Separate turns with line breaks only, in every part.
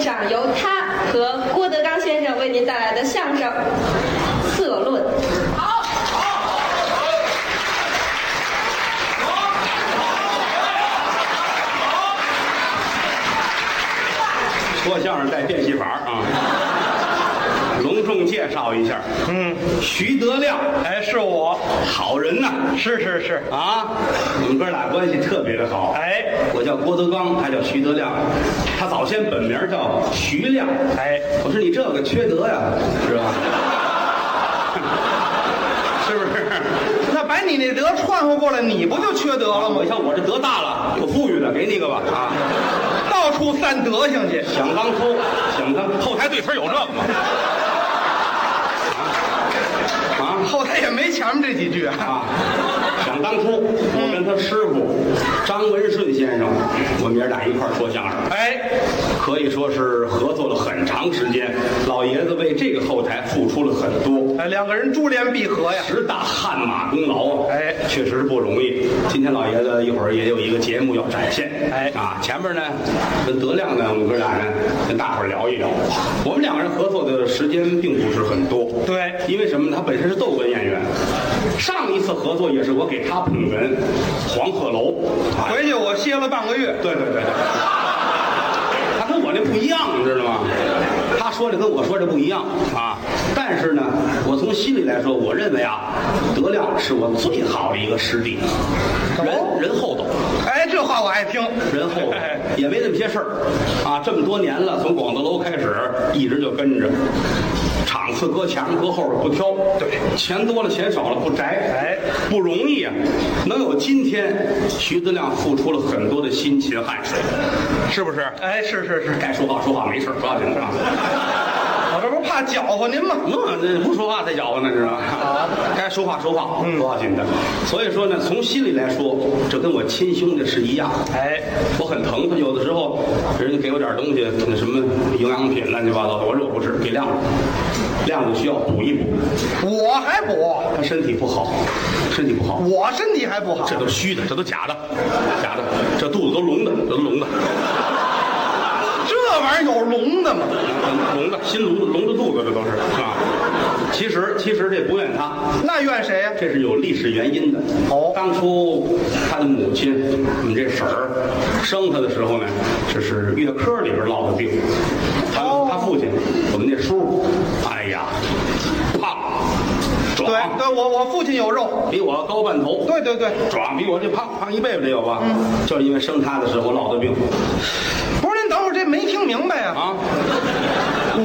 上由他和郭德纲先生为您带来的相声《色论》。
说相声带变戏法儿啊！隆重介绍一下，
嗯，
徐德亮，
哎，是我，
好人呐！
是是是，
啊，我们哥俩关系特别的好。
哎，
我叫郭德纲，他叫徐德亮，他早先本名叫徐亮。
哎，
我说你这个缺德呀，是吧？ 是不是？
那把你那德串和过来，你不就缺德了
我
吗？
一看我这德大了，有富裕的，给你一个吧啊！
到处散德行去，
想当偷，想当后台对词有这个吗？啊啊！
后台也没前面这几句啊。
啊，想当初我跟他师傅张文顺先生，我们爷俩一块儿说相声，
哎，
可以说是合作了很长时间。老爷子为这个后台付出了很多，
哎，两个人珠联璧合呀。
十大汗马功劳啊！
哎
确实不容易。今天老爷子一会儿也有一个节目要展现，
哎
啊，前面呢跟德亮呢，我们哥俩呢跟大伙儿聊一聊。我们两个人合作的时间并不是很多，
对
因为什么呢？他本身是逗哏演员，上一次合作也是我给他捧哏，黄鹤楼。啊
回去我歇了半个月，
对对对对，他跟我这不一样，你知道吗？他说的跟我说的不一样啊。但是呢，我从心里来说，我认为啊，德亮是我最好的一个师弟，
哦
人人厚道，
哎，这话我爱听。
人 厚道
哎，
也没那么些事儿啊。这么多年了，从广德楼开始，一直就跟着。场次搁前面搁后边不挑，
对
钱多了钱少了不摘，
哎，
不容易啊！能有今天，徐德亮付出了很多的辛勤汗水，是不是？
哎，是是是，
该说话说话没事儿，不要紧的啊。
我这不怕搅和您吗？
那这不说话再搅和呢，知道吧？该说话说话，不要紧的。所以说呢，从心里来说，这跟我亲兄弟是一样。
哎，
我很疼他，有的时候人家给我点东西，那什么营养品乱七八糟的，我说我不吃，给亮子，亮子需要补一补，
我还补，
他身体不好，身体不好，
我身体还不好
这。都虚的，这都假的，假的，这肚子都隆的，这都隆的，
这玩意儿有聋的吗？
隆的，新隆的，隆的肚子，这都是啊。其实其实这不怨他，
那怨谁呀？
这是有历史原因的。
哦
当初他的母亲，我们这婶儿生他的时候呢，这是月科里边落的病。他、
哦
他父亲，我们那叔，哎呀，胖，
对
壮，
对，我我父亲有肉。
比我高半头。
对对嗯对，
壮比我这胖胖一倍吧，得有吧？就是因为生他的时候落的病
不是您等会儿这没听明白呀、
啊，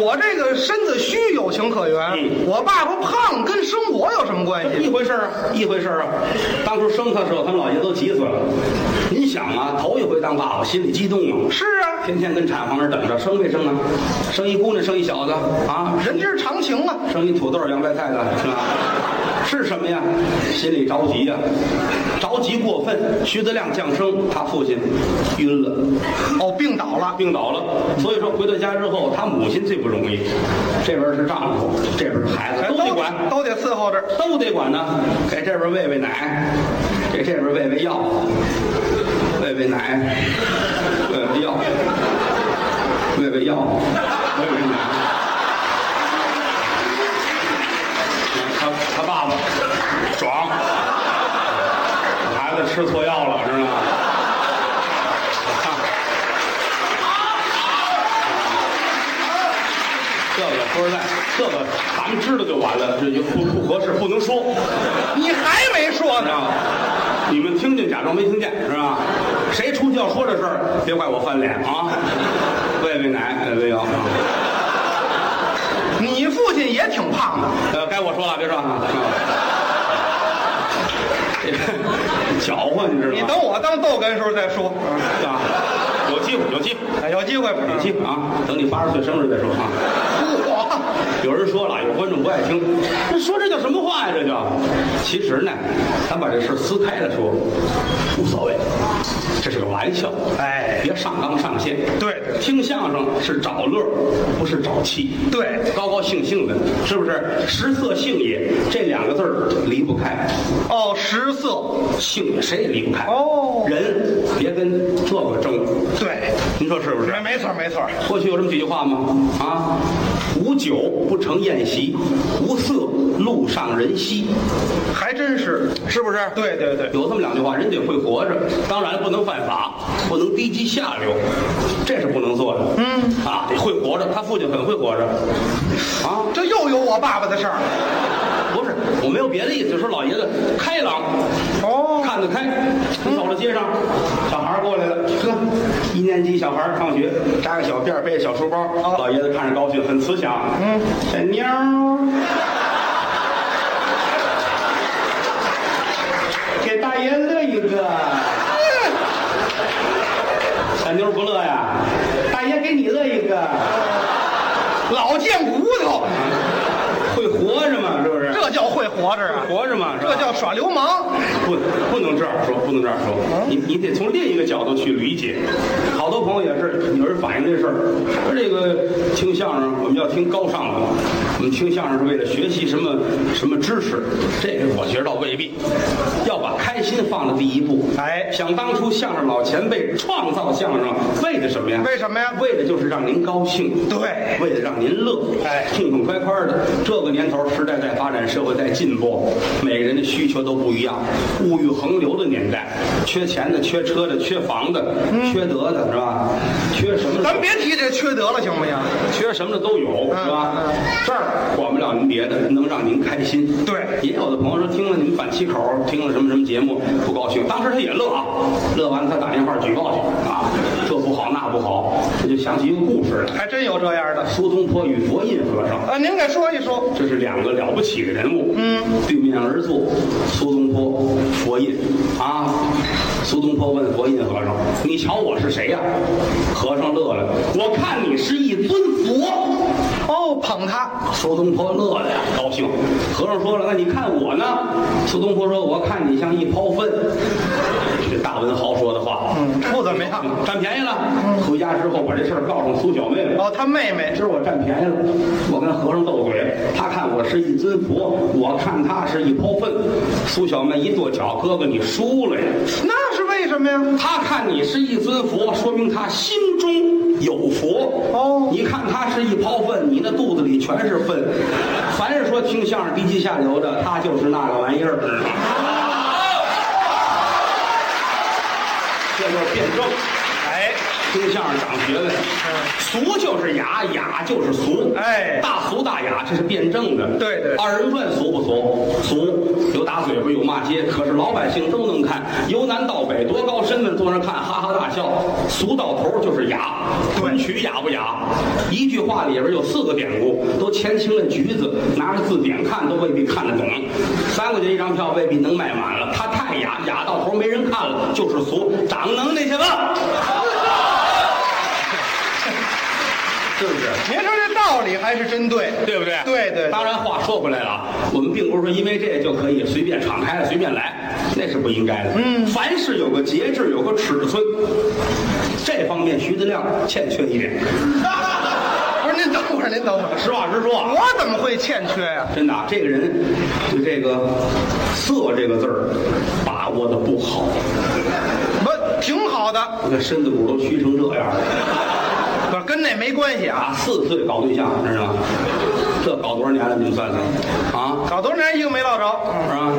我这个身子虚有情可原，
嗯
我爸爸胖跟生我有什么关
一
系？
回事儿啊，一回事儿啊。当初生他的时候，他们老爷子都急死了。您想啊，头一回当爸爸，心里激动啊。
是啊，
天天跟产房那儿等着，生没生啊？生一姑娘，生一小子啊？
人之常情啊。
生一土豆儿洋白菜的是吧？是什么呀？心里着急呀、着急过分。徐德亮降生，他父亲晕了，
哦，病倒了。
病倒了。所以说回到家之后，他母亲最不容易，这边是丈夫，这边是孩子，都得管。
都得伺候着。
都得管呢，给这边喂喂奶，给这边喂喂药，喂喂奶，喂喂药，喂喂药，喂喂奶。他他爸爸爽，孩子吃错药了，知道吗？这个说实在，这个咱们知道就完了，这就不不合适，不能说。
你还没说呢，
啊，你们听见假装没听见是吧？谁出去要说这事儿，别怪我翻脸啊！喂喂奶，哎喂喂药，
你父亲也挺胖的。
呃，该我说了，别说啊。搅和，你知道吗？
你等我当逗哏的时候再说。
啊，有机会，有机会，
哎有机会，
有机会啊！等你八十岁生日再说啊。
我
有人说了，有观众不爱听，这说这叫什么话呀？这叫，其实呢，咱把这事儿撕开了说，无所谓，这是个玩笑，
哎
别上纲上线。
对对
听相声是找乐，不是找气。
对
高高兴兴的，是不是？食色性也这两个字儿离不开，
哦，食色
性也谁也离不开。
哦
人别跟这个争，
对，哎
您说是不是
没？没错没错，
过去有这么几句话吗？啊，无酒不成宴席，无色路上人稀，
还真是，
是不是？
对对对，
有这么两句话，人得会活着，当然不能犯法，不能低级下流，这是不能做的。嗯，啊，得会活着。他父亲很会活着，啊，
这又有我爸爸的事儿了。
不是，我没有别的意思，就说老爷子开朗，
哦，
看得开。你走到街上，小孩儿过来了，呵，一年级小孩儿上学，扎个小辫儿，背着小书包，老爷子看着高兴，很慈祥。嗯，小妞儿，给大爷乐一个。小妞儿不乐呀，大爷给你乐一个，
老贱骨头，
会活着嘛，是不是？
这叫会活着啊，
活着嘛，是吧
这叫耍流氓。
不，不能这样说，不能这样说。你你得从另一个角度去理解。好多朋友也是有人反映这事儿，说这个听相声我们要听高尚的，我们听相声是为了学习什么什么知识，这个我觉得倒未必。要把开心放在第一步。
哎
想当初相声老前辈创造相声，为的什么呀？
为什么呀
为的就是让您高兴。
对
为了让您乐，
哎
痛痛快快的。这个年头，时代在发展，社会在进步，每个人的需求都不一样，物欲横流的年代，缺钱的、缺车的、缺房的、缺德的，是吧？缺什么的？
嗯咱别提这缺德了，行不行？
缺什么的都有，
嗯
是吧
嗯？
这儿管不了您别的，能让您开心。
对
也有的朋友说听了你们反七口，听了什么什么节目不高兴，当时他也乐啊，乐完了他打电话举报去啊，这不好那不好，这就想起一个故事来。
还真有这样的。
苏东坡与佛印和尚，
啊，您给说一说。
这是两个了不起的人物，嗯，对面而坐，苏东坡、佛印啊。苏东坡问佛印和尚：“你瞧我是谁呀、和尚乐了：“我看你是一尊佛。”
哦，捧他，
苏东坡乐了呀，高兴。和尚说了：“那你看我呢？”苏东坡说：“我看你像一泡粪。”这大文豪说的话，
嗯，不怎么样。
占便宜了。回家之后把这事儿告诉苏小妹了。
哦，他妹妹
今儿我占便宜了，我跟和尚斗嘴，他看我是一尊佛，我看他是一泡粪。苏小妹一跺脚：“哥哥，你输了呀！
那是为什么呀？
他看你是一尊佛，说明他心中有佛。
哦
你看他是一泡粪，你那肚子里全是粪。凡是说听相声低级下流的，他就是那个玩意儿，知道吗？这就是辩证。
哎，
听相声长学问，俗就是雅，雅就是俗，
嗯哎
大俗大雅，这是辩证的。
对对
二人转俗不俗？俗，有打嘴巴，有骂街，可是老百姓都能看，由南到北，多高身份坐那儿看，哈哈大笑。俗到头就是雅，昆曲雅不雅？一句话里边有四个典故，都前清的橘子，拿着字典看都未必看得懂。三块钱一张票未必能卖满了，它太雅，雅到头没人看了，就是俗，长能耐去吧。 是不是？
您说这道理还是真对，
对不对？
对对
当然，话说回来了，我们并不是说因为这就可以随便敞开了随便来，那是不应该的。嗯，凡事有个节制，有个尺寸，这方面徐德亮欠缺一点。
不是，您等会儿，您等会儿，
实话实说啊，
我怎么会欠缺呀、
真的啊，这个人对这个“色”这个字儿把握的不好，
不，挺好的，
你看身子骨都虚成这样了。
不是跟那没关系啊。
打四岁搞对象，知道吗？这搞多少年了？你们算算啊！
搞多少年一个没落着，
是吧？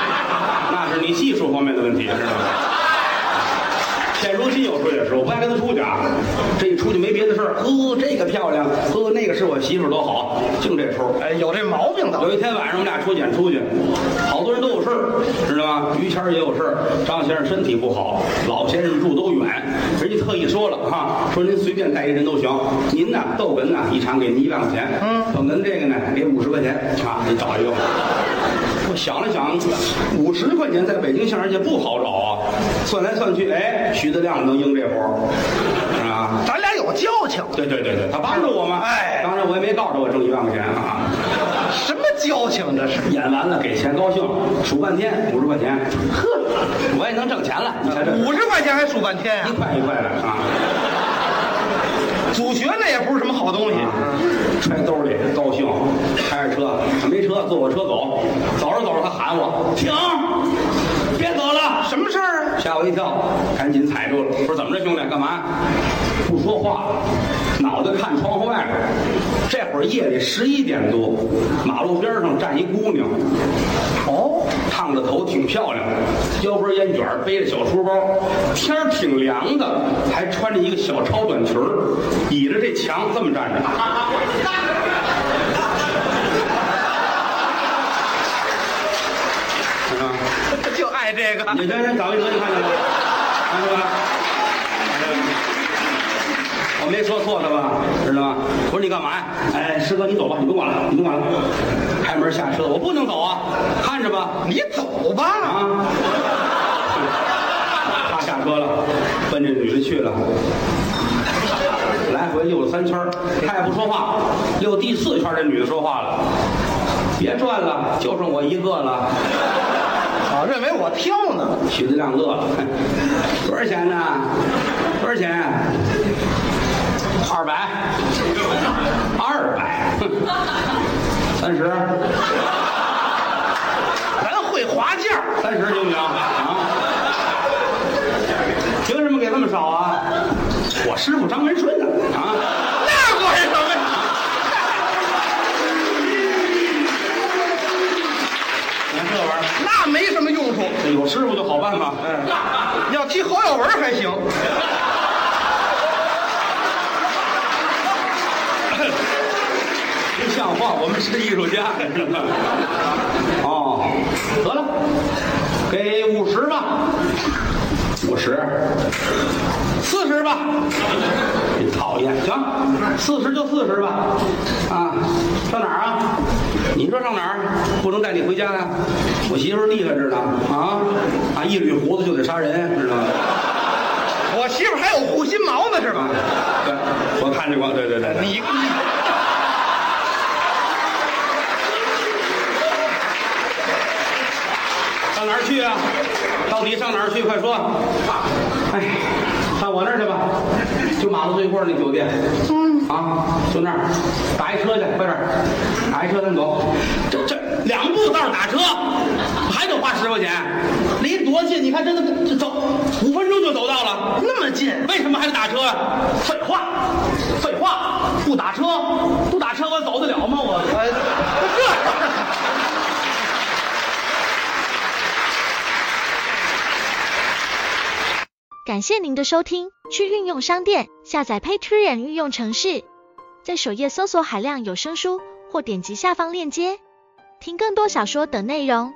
那是你技术方面的问题，知道吗？现如今有时候也是，我不爱跟他出去啊。这一出去没别的事儿，呵，这个漂亮，呵，那个是我媳妇儿多好，净这出儿。
哎，有这毛病倒
有
是。
一天晚上，我们俩出演出去，好多人都有事儿，知道吗？于谦儿也有事儿，张先生身体不好，老先生住都远，人家特意说了哈，说您随便带一人都行，您呐，逗哏呐，一场给您一万块钱，嗯，逗哏这个呢，给五十块钱啊，你找一个吧。我想了想，五十块钱在北京相声界不好找啊，算来算去，哎，徐德亮能应这活儿，啊。
咱俩有交情，
对对对对，他帮着我嘛，
哎
当然我也没告诉我挣一万块钱啊。
什么交情这是？
演完了给钱高兴，数半天五十块钱，呵，我也能挣钱了。你瞧这
五十块钱还数半天呀、
一块一块的啊，
祖学那也不是什么好东西。
嗯 揣兜里高兴，开着车没车坐我车走，走着走着他喊我停，别走了，
什么事儿啊？
吓我一跳，赶紧踩住了。我说怎么着，兄弟，干嘛？不说话，脑袋看窗户外边。这会儿夜里十一点多，马路边上站一姑娘，
哦，
烫着头，挺漂亮，腰包烟卷儿，背着小书包，天儿挺凉的，还穿着一个小超短裙儿，倚着这墙这么站着。啊
就爱这个
你这人找一辙，你看见吗？看见吗？哎我没说错的吧？知道吗？我说你干嘛呀？哎，师哥，你走吧，你甭管了，你甭管了。开门下车，我不能走啊！看着吧，
你走吧。
啊！他下车了，奔这女的去了，来回溜了三圈儿，他也不说话。溜第四圈儿，这女的说话了：“别转了，就剩我一个了。”
啊，认为我挑呢。
许自亮乐了，多少钱呢？多少钱？二百，二百， 哼三十，
咱会划价儿，
三十行不行啊？凭什么给这么少啊？我师傅张文顺呢？啊，
那管什么呀？
你哎看这玩意
那没什么用处。
儿，有师傅就好办嘛。
要提侯耀文还行，
不像话，我们是艺术家，知道吗？哦，得了，给五十吧，五十，四十吧，真讨厌，行，四十就四十吧，啊，上哪儿啊？你说上哪儿？不能带你回家呀、我媳妇儿厉害着呢，啊啊，一捋胡子就得杀人， 知道吗？
我媳妇还有护心毛呢，是吧？
对，我看见过，对对对对。
你你
上哪儿去啊？到底上哪儿去？快说！哎，上我那儿去吧，就马路对过那酒店。嗯啊，就那儿打一车去，快点儿，打一车咱走。这这两步道打车，还得花十块钱，离多近？你看这这这走五分钟就走到了，
那么近，
为什么还得打车呀？废话，废话，不打车，不打车我走得了吗？我。
呃，这
感谢您的收听，去运用商店下载 Patreon 运用城市，在首页搜索海量有声书，或点击下方链接听更多小说等内容。